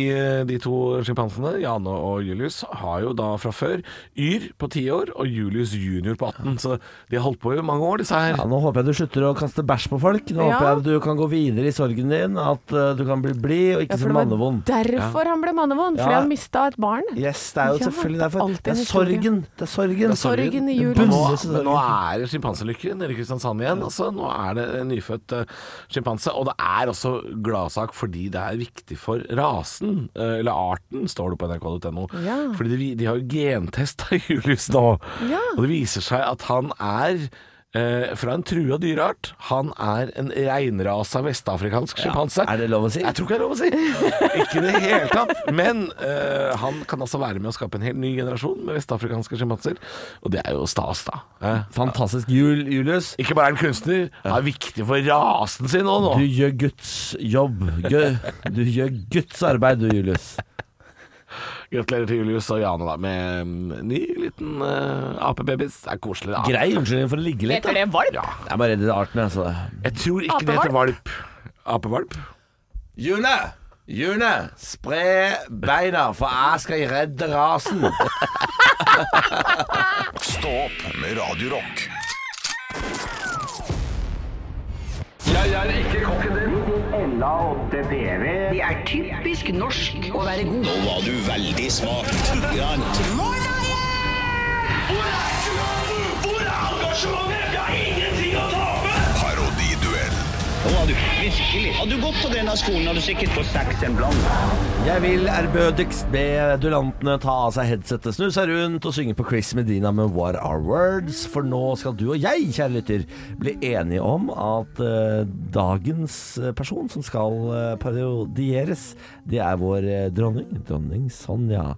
Speaker 4: de to sjimpansene, Jane og Julius, har jo da fra før Yr på 10 år og Julius junior på 18. Så de har holdt på i mange år, disse her.
Speaker 3: Ja, nå håper jeg du slutter å kaste bæsj på folk. Nå
Speaker 5: Ja.
Speaker 3: håper jeg at du kan gå videre i sorgen din, at eh, du kan bli blid og ikke som mannevond.
Speaker 5: derfor han ble mannevond. Fordi
Speaker 3: Ja.
Speaker 5: han mista et barn.
Speaker 3: Yes, det er jo
Speaker 5: Ja,
Speaker 3: selvfølgelig
Speaker 5: det er
Speaker 3: derfor.
Speaker 5: alltid
Speaker 3: Det er
Speaker 5: en historie.
Speaker 3: sorgen. Det er sorgen.
Speaker 5: Sorgen i
Speaker 3: Det
Speaker 4: Nå,
Speaker 5: Julius.
Speaker 3: bunner i
Speaker 4: men
Speaker 3: sorgen.
Speaker 4: nå er det sjimpanselykke nede i Kristiansand igjen. Altså, nå er det en nyfødt eh, sjimpanse. Og det er også gladsak fordi det er viktig for rasen, eh, eller arten, står det på nrk.no.
Speaker 5: Ja.
Speaker 4: Fordi de, vi- de har jo gentesta Julius nå.
Speaker 5: Ja.
Speaker 4: Og det viser seg at han er eh, fra en trua dyreart. Han er en reinrasa vestafrikansk sjimpanse.
Speaker 3: Er det lov å si?
Speaker 4: Jeg tror ikke det er lov å si. Ikke i det hele tatt. Men eh, han kan altså være med å skape en helt ny generasjon med vestafrikanske sjimpanser. Og det er jo stas, da. Eh,
Speaker 3: Fantastisk jul, Julius.
Speaker 4: ikke bare er han kunstner, han er viktig for rasen sin òg nå.
Speaker 3: Du gjør Guds jobb. Gø- Du gjør Guds arbeid, du, Julius.
Speaker 4: Gratulerer til Julius og Jane da med en ny liten eh, apebabys. Det er koselig. da.
Speaker 3: Grei unnskyldning for å ligge litt.
Speaker 5: Heter det valp?
Speaker 3: Jeg er bare redd arten, altså. jeg, så det
Speaker 4: Jeg tror ikke det heter valp. Apevalp?
Speaker 3: June! June! Spre beina, for jeg skal redde rasen.
Speaker 2: Stå opp med Radio Rock.
Speaker 6: Hvor er engasjementet? Jeg har ingenting å tape!
Speaker 2: Parodiduell.
Speaker 8: Nå har du virkelig Hadde du gått på denne skolen, hadde du sikkert fått seks en blant.
Speaker 3: Jeg vil ærbødigst be duellantene ta av seg headsetet, snu seg rundt og synge på Chris Medina med What Are Words? For nå skal du og jeg, kjære lytter, bli enige om at eh, dagens eh, person som skal eh, parodieres, det er vår eh, dronning, dronning Sonja.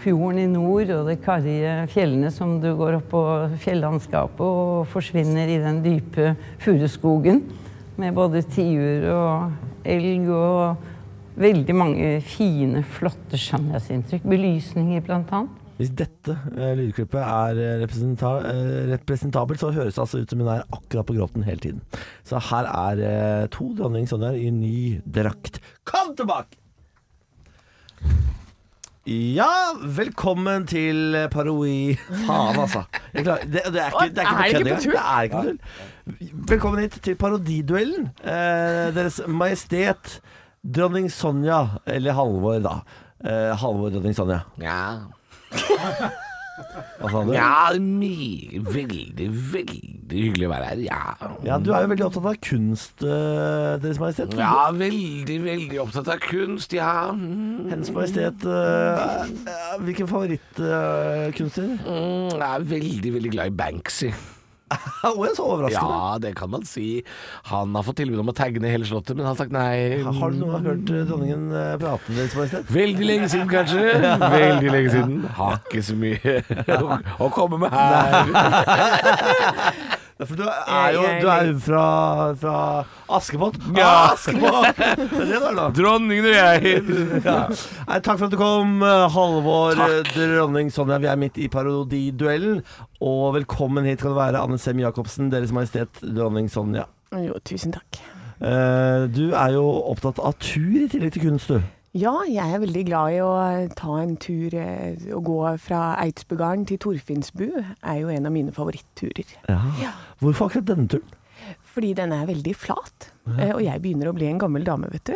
Speaker 9: fjorden i nord og de karrige fjellene som du går opp på fjellandskapet og forsvinner i den dype furuskogen med både tiur og elg og veldig mange fine, flotte skjønnhetsinntrykk. Belysninger, blant annet.
Speaker 3: Hvis dette eh, lydklippet er eh, representa eh, representabelt, så høres det altså ut som hun er akkurat på gråten hele tiden. Så her er eh, to dronning Sonja i ny drakt. Kom tilbake! Ja, velkommen til eh, paroi... Faen, altså. Jeg klarer, det, det er ikke, det er
Speaker 5: Er
Speaker 3: ikke på
Speaker 5: det ikke på
Speaker 3: kødd engang. Det
Speaker 5: tull?
Speaker 3: er ikke på tull. Velkommen hit til parodiduellen. Eh, deres Majestet Dronning Sonja, eller Halvor, da. Eh, Halvor Dronning Sonja.
Speaker 4: Nja.
Speaker 3: Hva sa du?
Speaker 4: Ja, mye, veldig, veldig hyggelig å være her. Ja.
Speaker 3: Ja, du er jo veldig opptatt av kunst, eh, Deres Majestet.
Speaker 4: Ja, veldig, veldig opptatt av kunst, ja. Mm,
Speaker 3: Hennes Majestet, eh, eh, hvilken favorittkunstner?
Speaker 4: mm, jeg er veldig, veldig glad i Banksy.
Speaker 3: Og jeg er så overraskende.
Speaker 4: Ja, det kan man si. Han har fått tilbud om å tagge ned hele slottet, men han har sagt nei.
Speaker 3: Har du noen gang hørt eh, dronningen eh, prate deres majestet?
Speaker 4: Veldig lenge siden, kanskje. Veldig lenge siden. Har ikke så mye å- å komme med her.
Speaker 3: For du er jo
Speaker 5: Jeg-
Speaker 3: du er jo fra, fra Askepott.
Speaker 4: Ja.
Speaker 3: Askepott! Det er det du er, da.
Speaker 4: Dronningen og jeg.
Speaker 3: Ja. Nei, takk for at du kom, eh, Halvor eh, Dronning Sonja. Vi er midt i parodiduellen. Og velkommen hit kan du være, Anne Sem Jacobsen, Deres Majestet Dronning Sonja.
Speaker 5: Jo, tusen takk.
Speaker 3: Eh, du er jo opptatt av tur i tillegg til kunst, du.
Speaker 5: Ja, jeg er veldig glad i å ta en tur eh, og gå fra Eidsbugarden til Torfinnsbu. er jo en av mine favoritturer.
Speaker 3: Hvorfor akkurat denne turen?
Speaker 5: Fordi den er veldig flat, eh, og jeg begynner å bli en gammel dame, vet du.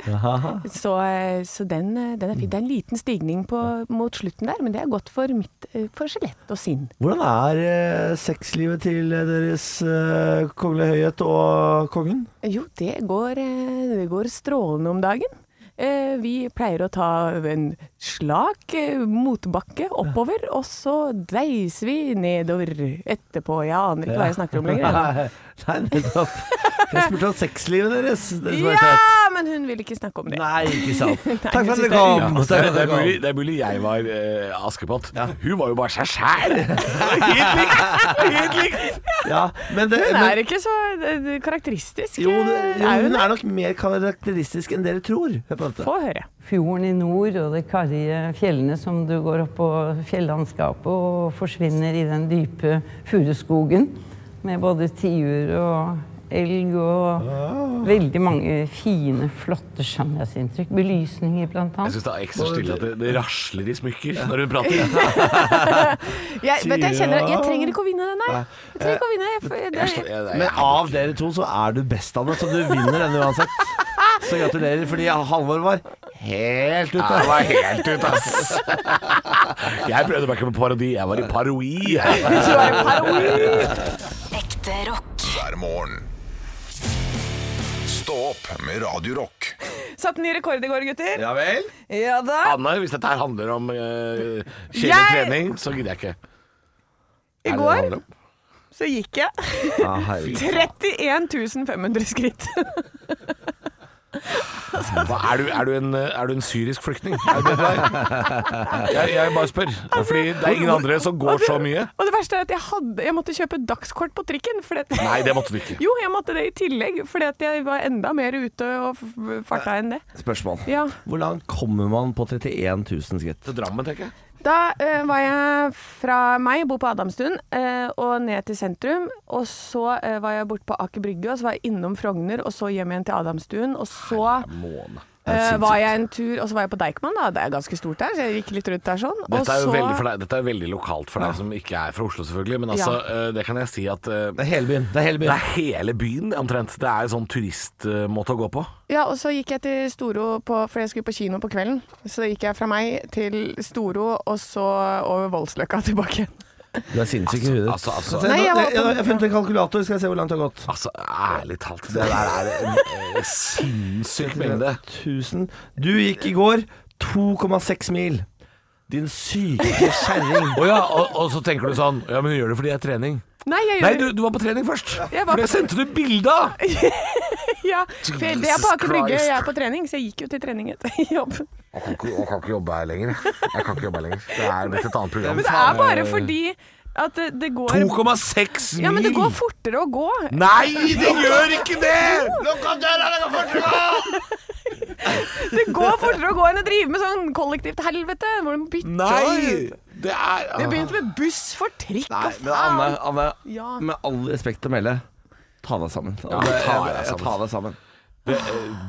Speaker 5: Så, eh, så den, eh, den er fin. Det er en liten stigning på, mot slutten der, men det er godt for, mitt, eh, for skjelett og sinn.
Speaker 3: Hvordan er eh, sexlivet til eh, Deres eh, kongelige høyhet og kongen?
Speaker 5: Jo, det går, eh, det går strålende om dagen. Eh, Vi pleier å ta en slak eh, motbakke oppover, og så deiser vi nedover etterpå. Jeg aner ikke hva jeg snakker om lenger.
Speaker 3: Nei, nei, nettopp. Jeg spurte om sexlivet deres, Deres Majestet.
Speaker 5: Ja, men hun vil ikke snakke om det.
Speaker 3: Nei, ikke sant. Takk for at
Speaker 5: det
Speaker 3: dere kom.
Speaker 4: Ja,
Speaker 3: Takk
Speaker 4: det,
Speaker 3: for at
Speaker 4: er
Speaker 3: dere kom.
Speaker 4: mulig, det er mulig jeg var eh, Askepott. Hun var jo bare seg sjæl. Helt likt! Helt likt!
Speaker 3: Ja, men det,
Speaker 5: Hun
Speaker 3: men-
Speaker 5: er ikke så eh, karakteristisk.
Speaker 3: Jo, det,
Speaker 5: eh,
Speaker 3: jo,
Speaker 5: er
Speaker 3: hun
Speaker 5: hun
Speaker 3: er nok mer karakteristisk enn dere tror. Hør på dette.
Speaker 5: Få høre.
Speaker 9: Fjorden i nord og de karrige fjellene som du går opp på fjellandskapet og forsvinner i den dype furuskogen med både tiur og elg og veldig mange fine, flotte skjønnhetsinntrykk. Belysninger, blant
Speaker 4: Jeg
Speaker 9: annet.
Speaker 4: syns det er ekstra stille at det, det rasler i smykker når hun prater.
Speaker 5: Jeg, vet du, jeg, kjenner, jeg
Speaker 3: Tyra.
Speaker 5: trenger ikke å vinne den her. Jeg trenger ikke å vinne. Jeg, f-
Speaker 4: Jeg, slår-
Speaker 5: det,
Speaker 4: jeg,
Speaker 3: Men av dere to så er du best, Anne, så du vinner denne uansett. Så gratulerer, fordi Halvor var helt ute.
Speaker 4: Jeg var helt ute, ass. Jeg prøvde meg ikke på parodi, jeg var i paroi. Jeg.
Speaker 1: Ekte rock.
Speaker 2: hver morgen. Stå opp med Radio Rock.
Speaker 5: satt ny rekord i går, gutter.
Speaker 4: Ja vel?
Speaker 5: Ja da.
Speaker 4: Anne, hvis dette her handler om eh, kjemisk
Speaker 5: Jeg-
Speaker 4: trening, så gidder jeg ikke.
Speaker 5: I
Speaker 4: Er det det
Speaker 5: går?
Speaker 4: handler om?
Speaker 5: Så gikk jeg.
Speaker 3: Ja, herregud.
Speaker 5: 31 500 skritt.
Speaker 4: Hva, er, du, er, du en, eh, er du en syrisk flyktning? Er du det der? Jeg, jeg bare spør. Fordi det er ingen andre som går så mye.
Speaker 5: Og det verste er at jeg, hadde, jeg måtte kjøpe dagskort på trikken. For det,
Speaker 4: Nei, det måtte du ikke.
Speaker 5: Jo, jeg måtte det i tillegg, fordi at jeg var enda mer ute og f- farta enn det.
Speaker 3: Spørsmål.
Speaker 5: Ja.
Speaker 3: Hvor langt kommer man på 31 000 skritt?
Speaker 4: Til Drammen, tenker jeg.
Speaker 5: Da eh, var jeg fra meg, bo på Adamstuen, eh, og ned til sentrum. Og så eh, var jeg borte på Aker Brygge, og så var jeg innom Frogner, og så hjem igjen til Adamstuen. Og så
Speaker 4: Måne.
Speaker 5: eh, var jeg en tur, og så var jeg på Deichman, da. Det er ganske stort der, så jeg gikk litt rundt der sånn. og
Speaker 4: Dette er jo
Speaker 5: så,
Speaker 4: veldig, for deg, dette er veldig lokalt for deg som ikke er fra Oslo, selvfølgelig. Men altså, eh, det kan jeg si at eh,
Speaker 3: Det er hele byen. Det er hele
Speaker 4: det
Speaker 3: byen.
Speaker 4: er hele byen, omtrent. Det er en sånn turistmåte å gå på.
Speaker 5: Ja, og så gikk jeg til Storo, på, for jeg skulle på kino på kvelden. Så gikk jeg fra meg til Storo, og så over Voldsløkka tilbake igjen.
Speaker 3: Du er sinnssyk i huet.
Speaker 4: Altså, altså,
Speaker 3: Se, nå-
Speaker 5: Nei, jeg
Speaker 3: jeg
Speaker 5: var på-
Speaker 3: jeg har funnet en kalkulator, skal jeg se hvor langt det har gått.
Speaker 4: altså ærlig talt. Det der er en eh, sinnssyk mengde.
Speaker 3: 1000. Du gikk i går 2,6 mil. Din syke kjerring.
Speaker 4: Å ja, og, og så tenker du sånn Ja, men hun gjør det fordi det er trening.
Speaker 5: Nei, jeg
Speaker 4: Nei,
Speaker 5: gjør
Speaker 4: du, du var på trening først.
Speaker 5: Jeg var
Speaker 4: For det
Speaker 5: på-
Speaker 4: sendte du bilde av!
Speaker 5: ja, for Det er
Speaker 4: Jesus
Speaker 5: på Aker Brygge,
Speaker 4: Christ.
Speaker 5: jeg er på trening, så jeg gikk jo til trening etter jobb.
Speaker 4: Jeg kan, ikke, jobbe her lenger. Jeg kan ikke jobbe her lenger. Det er blitt et annet
Speaker 5: Men det er bare fordi at det, det går
Speaker 4: 2,6 mil!
Speaker 5: Ja, men det går fortere å gå.
Speaker 4: Nei, det gjør ikke det!
Speaker 5: Det går fortere å gå enn å drive med sånn kollektivt helvete. Hvor de bytter
Speaker 4: Nei!
Speaker 5: og-
Speaker 4: Det er
Speaker 5: Det begynte med buss for trikk
Speaker 3: Nei,
Speaker 5: og
Speaker 3: men Anne,
Speaker 5: faen.
Speaker 3: Anne
Speaker 5: Ja.
Speaker 3: med all respekt å melde, ta deg sammen.
Speaker 4: Ja, ta deg
Speaker 3: Jeg- jeg- Ta deg sammen.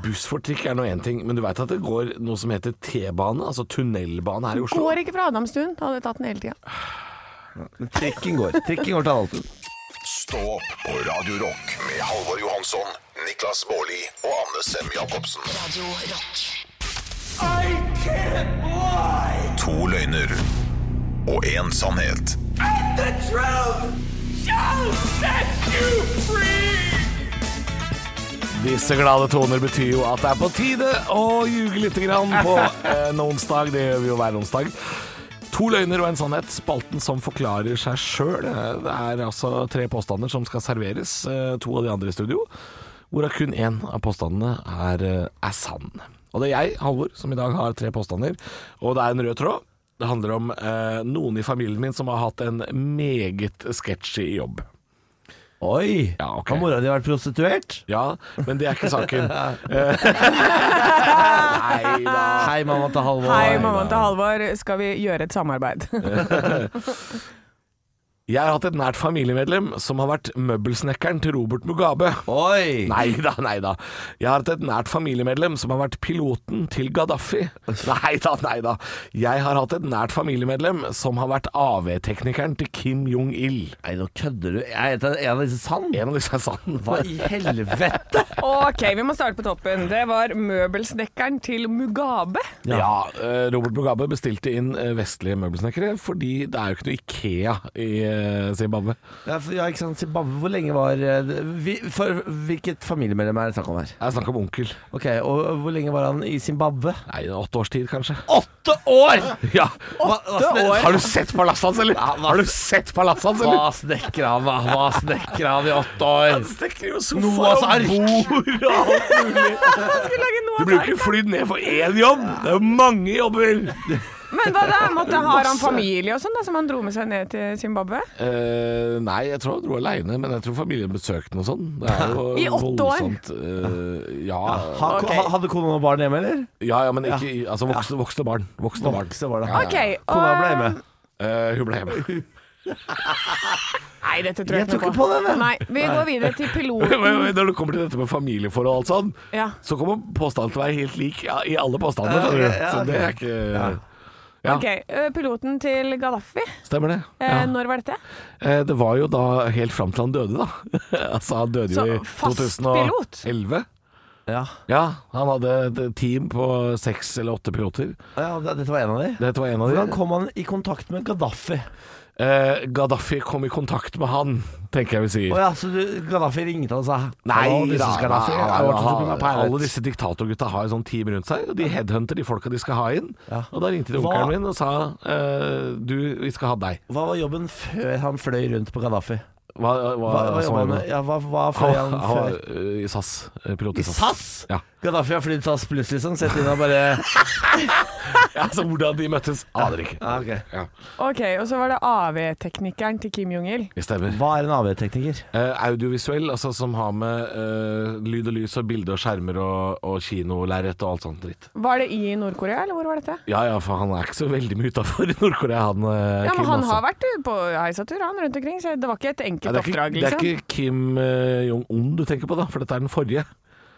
Speaker 4: Buss for trikk Eh, er nå én ting, men du veit at det går noe som heter T-bane, altså tunnelbane her i Oslo?
Speaker 5: Går ikke fra Adamstuen. Da hadde jeg tatt den hele tida.
Speaker 3: Men trikken går. Trikken går til Alptun.
Speaker 2: Stå opp på Radio Rock med Halvor Johansson, Niklas Baarli og Anne Sem Jacobsen.
Speaker 1: Radio Rock.
Speaker 2: To løgner og én sannhet.
Speaker 4: Disse glade toner betyr jo at det eh, er på tide å ljuge litt grann på en onsdag. Det gjør vi jo hver onsdag. To løgner og en sannhet, spalten som forklarer seg sjøl. Det er altså tre påstander som skal serveres, eh, to av de andre i studio. Hvorav kun én av påstandene er, eh, er sann. Og det er jeg, Halvor, som i dag har tre påstander. Og det er en rød tråd. Det handler om eh, noen i familien min som har hatt en meget sketchy jobb.
Speaker 3: Oi!
Speaker 4: Ja, ok.
Speaker 3: Har mora di vært prostituert?
Speaker 4: Ja, men det er ikke saken. Eh, Nei da.
Speaker 3: Hei, mamma til Halvor.
Speaker 5: Hei, mammaen til Halvor. Skal vi gjøre et samarbeid?
Speaker 4: Jeg har hatt et nært familiemedlem som har vært møbelsnekkeren til Robert Mugabe.
Speaker 3: Oi!
Speaker 4: Nei da, nei da. Jeg har hatt et nært familiemedlem som har vært piloten til Gaddafi. Nei da, nei da. Jeg har hatt et nært familiemedlem som har vært AV-teknikeren til Kim Jong-il.
Speaker 3: Nei, nå kødder du. Er det en av disse sann?
Speaker 4: En av disse er sann.
Speaker 3: Hva i helvete?
Speaker 5: Ok, vi må starte på toppen. Det var møbelsnekkeren til Mugabe.
Speaker 4: Ja. eh, Robert Mugabe bestilte inn eh, vestlige møbelsnekkere fordi det er jo ikke noe Ikea i eh, Zimbabwe.
Speaker 3: Ja, for- ja, ikke sant. Zimbabwe, hvor lenge var eh, vi, For hvilket familiemedlem er det snakk om her?
Speaker 4: Det er snakk om onkel.
Speaker 3: Ok, Og hvor lenge var han i Zimbabwe?
Speaker 4: Nei, en åtte års tid, kanskje.
Speaker 3: Åtte år!
Speaker 4: Ja.
Speaker 3: Hva, hva, sne
Speaker 4: Har du sett palasset hans, eller? Har du sett palasset hans, eller?
Speaker 3: hva snekra han, hva- hva snekra han i åtte år?
Speaker 4: Stekker jo
Speaker 3: Noahs
Speaker 4: sofaer
Speaker 3: ark.
Speaker 4: og bord og alt mulig. Du blir jo ikke flydd ned for én jobb. Det er jo mange jobber.
Speaker 5: Men hva da? Måtte Har han familie og sånn da, som han dro med seg ned til Zimbabwe?
Speaker 4: Eh, nei, jeg tror han dro aleine, men jeg tror familien besøkte den og sånn. Det er jo
Speaker 5: I åtte år?
Speaker 4: voldsomt, eh, ja,
Speaker 3: Ha,
Speaker 5: Ok.
Speaker 3: ha, hadde kona og barn hjemme, eller?
Speaker 4: ja, ja, men ikke altså, voksne, voksne barn. Voksne barn.
Speaker 3: Vokse var det.
Speaker 5: Ok,
Speaker 3: Kona ble
Speaker 5: og...
Speaker 3: hjemme.
Speaker 4: Eh, hun ble hjemme.
Speaker 5: Nei, dette tror jeg,
Speaker 3: Jeg
Speaker 5: ikke
Speaker 3: tok
Speaker 5: noe på.
Speaker 3: ikke på den, jeg.
Speaker 5: Nei, vi går videre til
Speaker 4: Men-
Speaker 5: piloten.
Speaker 4: men Når det kommer til dette med familieforhold og alt sånn,
Speaker 5: Ja.
Speaker 4: så kommer påstanden til å være helt lik ja, i alle påstandene.
Speaker 3: Ja,
Speaker 4: tror jeg.
Speaker 3: ok, ja,
Speaker 4: Så det er
Speaker 3: ok.
Speaker 4: ikke Ja.
Speaker 5: Ok, eh, piloten til Gaddafi.
Speaker 4: Stemmer det.
Speaker 5: Eh,
Speaker 4: Ja.
Speaker 5: Når var dette?
Speaker 4: Eh, Det var jo da helt fram til han døde, da. altså, han døde
Speaker 5: Så
Speaker 4: jo i
Speaker 5: fast
Speaker 4: 2011.
Speaker 3: Ja.
Speaker 4: Ja, han hadde et team på seks eller åtte piloter.
Speaker 3: ja, det- dette var en av de.
Speaker 4: Dette var en av
Speaker 3: Hvordan
Speaker 4: de.
Speaker 3: kom han i kontakt med Gaddafi?
Speaker 4: Eh, Gaddafi kom i kontakt med han, tenker jeg vi sier.
Speaker 3: Å ja, så du, Gaddafi ringte han og sa
Speaker 4: Nei,
Speaker 3: «Hallo, this
Speaker 4: da,
Speaker 3: is Gaddafi.
Speaker 4: nei,
Speaker 3: I want you to be my
Speaker 4: nei,
Speaker 3: pilot».
Speaker 4: alle disse diktatorgutta har jo sånn team rundt seg, og de headhunter de folka de skal ha inn.
Speaker 3: Ja.
Speaker 4: Og da ringte de
Speaker 3: Hva-
Speaker 4: onkelen min og sa eh, du, vi skal ha deg.
Speaker 3: Hva var jobben før han fløy rundt på Gaddafi?
Speaker 4: Hva, hva,
Speaker 3: Hva, hva
Speaker 4: svarer
Speaker 3: jobba han
Speaker 4: du?
Speaker 3: med? Ja, hva, hva fløy
Speaker 4: Han,
Speaker 3: han
Speaker 4: han var
Speaker 3: før?
Speaker 4: eh, i SAS. eh, Pilot
Speaker 3: I SAS?
Speaker 4: Ja.
Speaker 3: Gaddafi har flydd SAS pluss, liksom. Sett inn og bare
Speaker 4: Ja, så Altså, hvordan de møttes, aner ikke.
Speaker 3: Ja, ok.
Speaker 4: Ja,
Speaker 5: Ok, og så var det AV-teknikeren til Kim Jong-il.
Speaker 4: det stemmer.
Speaker 3: Hva er en AV-tekniker?
Speaker 4: Eh, audiovisuell, altså som har med eh, lyd og lys og bilde og skjermer og, og kinolerret og alt sånt dritt.
Speaker 5: Var det i Nord-Korea, eller hvor var dette?
Speaker 4: Ja ja, for han er ikke så veldig mye utafor Nord-Korea, han eh,
Speaker 5: Ja, men
Speaker 4: Kim.
Speaker 5: han
Speaker 4: altså.
Speaker 5: har vært på heisatur, han, rundt omkring, så det var ikke et
Speaker 4: Ja,
Speaker 5: enkelt
Speaker 4: det, er ikke,
Speaker 5: oppdrag,
Speaker 4: det er
Speaker 5: liksom.
Speaker 4: ikke Kim eh, Jong-un du tenker på, da, for dette er den forrige.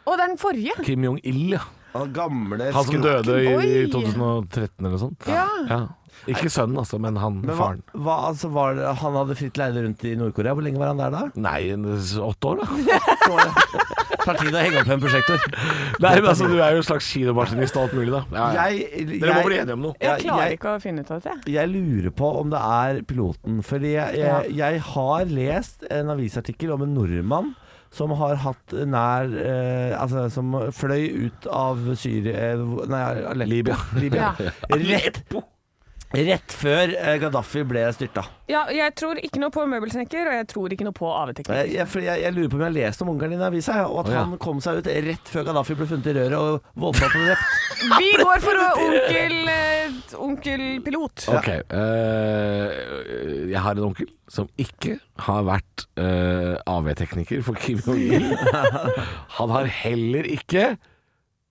Speaker 5: Og det er den forrige.
Speaker 4: Kim Jong-il, ja.
Speaker 3: Han gamle
Speaker 4: Han som døde i, i
Speaker 5: Oi.
Speaker 4: 2013 eller noe sånt.
Speaker 5: Ja.
Speaker 4: Ja. Ikke sønnen, altså, men han
Speaker 3: Men hva,
Speaker 4: faren.
Speaker 3: hva, altså, var det, han hadde fritt leide rundt i Nord-Korea. Hvor lenge var han der da?
Speaker 4: Nei, en- åtte år, da.
Speaker 3: Tar tid å henge opp en prosjektor.
Speaker 4: Nei, men altså, du er jo en slags kinomaskinist og alt mulig, da. Ja, ja.
Speaker 3: Jeg, jeg,
Speaker 4: Dere må bli enige om noe.
Speaker 5: Jeg
Speaker 3: Ja,
Speaker 5: klarer
Speaker 3: jeg-
Speaker 5: ikke å finne ut av det.
Speaker 3: jeg lurer på om det er piloten. Fordi jeg, jeg, jeg har lest en avisartikkel om en nordmann som har hatt nær eh, Altså som fløy ut av Syria eh, hvor- Nei, Aleppo.
Speaker 4: Libya.
Speaker 3: Libya. Rett, rett før eh, Gaddafi ble styrta.
Speaker 5: Ja, jeg tror ikke noe på møbelsnekker, og jeg tror ikke noe på
Speaker 3: Jeg,
Speaker 5: AV-teknikk.
Speaker 3: jeg, for jeg, jeg lurer på om jeg har lest om onkelen din i avisa, jeg, og at
Speaker 4: Å, ja.
Speaker 3: han kom seg ut rett før Gaddafi ble funnet i røret og voldtatt og drept.
Speaker 5: Vi går for onkel, eh, onkel pilot.
Speaker 4: Ok, eh, jeg har en onkel som ikke har vært eh, AV-tekniker for Kim Jong-il. Han har heller ikke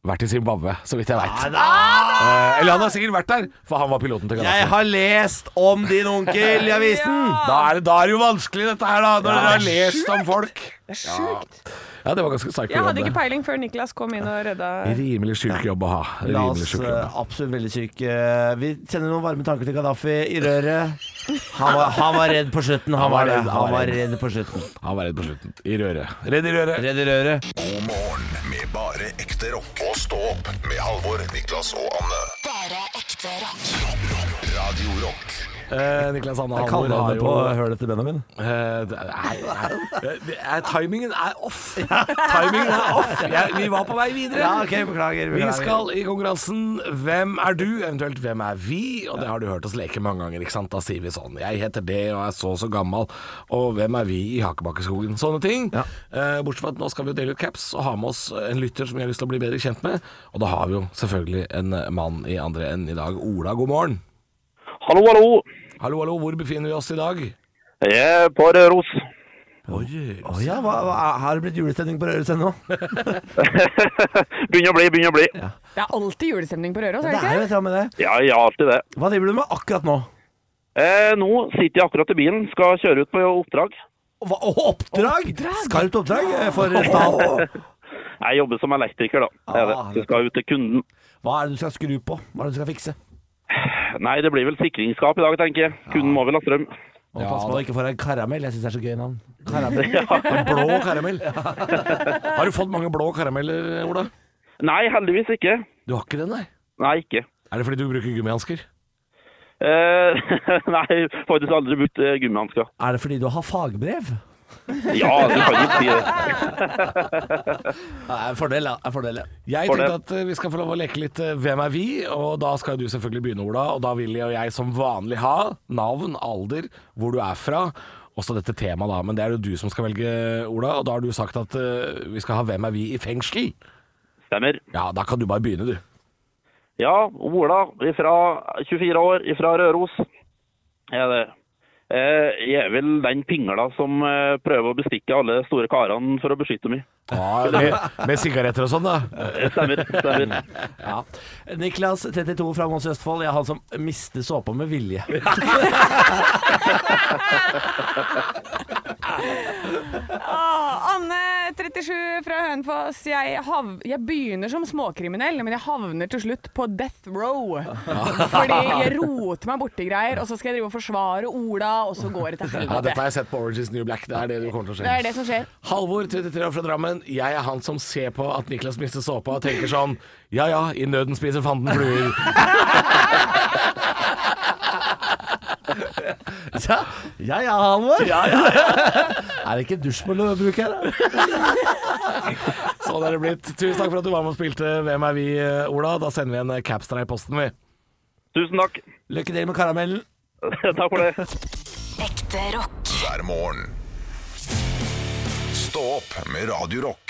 Speaker 4: vært i Zimbabwe, så vidt jeg veit. eller han har sikkert vært der, for han var piloten til
Speaker 3: Jeg
Speaker 4: Gaddafi.
Speaker 3: har lest om din onkel i avisen!
Speaker 4: Da er, det, da er det jo vanskelig dette her, da, når dere har lest om folk.
Speaker 5: Det er sjukt.
Speaker 4: Ja, det var ganske psycho.
Speaker 5: Jeg hadde
Speaker 4: jobb,
Speaker 5: ikke
Speaker 4: det.
Speaker 5: peiling før Niklas kom inn og redda
Speaker 4: Rimelig sjuk jobb å ha.
Speaker 3: La oss
Speaker 4: Rimelig sjuk jobb.
Speaker 3: eh, absolutt veldig syk eh, Vi sender noen varme tanker til Gaddafi i røret. Han var, han var redd på slutten. Han, var, det. Han var redd på slutten.
Speaker 4: Han var redd på slutten. I røret. Redd i røret.
Speaker 3: Redd i røret.
Speaker 2: God morgen med bare ekte rock. Og stå opp med Halvor, Niklas og Anne.
Speaker 1: Bare ekte rock.
Speaker 2: Rock, rock. Radio Rock.
Speaker 4: Eh, Niklas Hanne
Speaker 3: Jeg
Speaker 4: Halvor
Speaker 3: kaller
Speaker 4: har
Speaker 3: han
Speaker 4: jo
Speaker 3: på hølet til Benjamin.
Speaker 4: Eh, det er- nei, nei. Det er- Timingen er off! Timingen er off Jeg, Vi var på vei videre.
Speaker 3: Ja, ok, beklager.
Speaker 4: Vi
Speaker 3: beklager.
Speaker 4: skal i konkurransen Hvem er du, eventuelt hvem er vi? Og det har du hørt oss leke mange ganger, ikke sant? Da sier vi sånn Jeg heter det og er så og så gammel, og hvem er vi i Hakebakkeskogen? Sånne ting.
Speaker 3: Ja.
Speaker 4: Eh, bortsett fra at nå skal vi jo dele ut caps og ha med oss en lytter som vi har lyst til å bli bedre kjent med. Og da har vi jo selvfølgelig en eh, mann i andre enden i dag. Ola, god morgen.
Speaker 10: Hallo, hallo.
Speaker 4: Hallo, hallo, hvor befinner vi oss i dag?
Speaker 10: Jeg er på Røros.
Speaker 3: Å ja, hva, hva, har det blitt julestemning på Røros ennå?
Speaker 10: Begynner å bli, begynner å bli.
Speaker 5: Det er alltid julestemning på Røros,
Speaker 3: Det
Speaker 5: er det
Speaker 3: er jo
Speaker 5: ikke?
Speaker 3: et eller annet med det.
Speaker 10: Ja, ja, alltid det.
Speaker 3: Hva driver du med akkurat nå?
Speaker 10: Eh, nå sitter jeg akkurat i bilen, skal kjøre ut på oppdrag.
Speaker 3: Hva, å, oppdrag? Skarpt oppdrag eh, for stat.
Speaker 10: Jeg jobber som elektriker, da. Det er det.
Speaker 3: Ah,
Speaker 10: Så skal jeg ut til kunden.
Speaker 3: Hva er det du skal skru på? Hva er det du skal fikse?
Speaker 10: Nei, det blir vel sikringsskap i dag, tenker jeg. Kunden må vel ha strøm.
Speaker 3: Og pass på at du ikke får en karamell. Jeg syns det er så gøy navn. Karamell.
Speaker 4: Blå karamell. Har du fått mange blå karameller, Ola?
Speaker 10: Nei, heldigvis ikke.
Speaker 4: Du har ikke det, nei?
Speaker 10: Nei, ikke.
Speaker 4: Er det fordi du bruker gummihansker?
Speaker 10: Eh, nei, faktisk aldri brukt eh, gummihansker.
Speaker 3: Er det fordi du har fagbrev?
Speaker 10: Ja, du kan ikke si det.
Speaker 3: Det er en fordel, ja. Det er en fordel, ja.
Speaker 4: Jeg
Speaker 10: For det.
Speaker 4: tenkte at eh, vi skal få lov å leke litt eh, Hvem er vi? Og da skal du selvfølgelig begynne, Ola. Og da vil jeg og jeg som vanlig ha navn, alder, hvor du er fra. Også dette temaet, da. Men det er jo du som skal velge, Ola. Og da har du sagt at eh, vi skal ha Hvem er vi i fengsel?
Speaker 10: Stemmer.
Speaker 4: Ja, da kan du bare begynne, du.
Speaker 10: Ja, Ola, ifra 24 år, ifra Røros. Er det. Eh, jeg er vel den pingla som eh, prøver å bestikke alle store karene for å beskytte meg.
Speaker 4: Ja, med, med sigaretter og sånn, da.
Speaker 10: Det Stemmer. stemmer.
Speaker 3: Ja. Niklas, 32 fra Mons i Østfold. Jeg er han som mister såpa med vilje.
Speaker 5: Ah, Anne, 37 fra Hønefoss. Jeg, hav- jeg begynner som småkriminell, men jeg havner til slutt på death row. Fordi jeg roter meg borti greier, og så skal jeg drive og forsvare Ola, og så går det
Speaker 4: Ja,
Speaker 5: til
Speaker 4: dette
Speaker 5: helvete.
Speaker 4: har jeg sett på Orange is the New Black. Det er det du kommer til å se.
Speaker 5: Det er det som skjer.
Speaker 4: Halvor, 33 år fra Drammen. Jeg er han som ser på at Niklas mister såpa og tenker sånn Ja ja, i nøden spiser fanden fluer.
Speaker 3: Ja, ja, ja Halvor. er det ikke dusjmål å bruke her, da?
Speaker 4: Sånn er det blitt. Tusen takk for at du var med og spilte Hvem er vi, eh, Ola. Da sender vi en eh, caps til deg i posten, vi.
Speaker 10: Tusen takk.
Speaker 3: Lykke til med karamellen.
Speaker 10: Takk for det.
Speaker 1: Ekte rock.
Speaker 2: hver morgen. Stå opp med Radio Rock.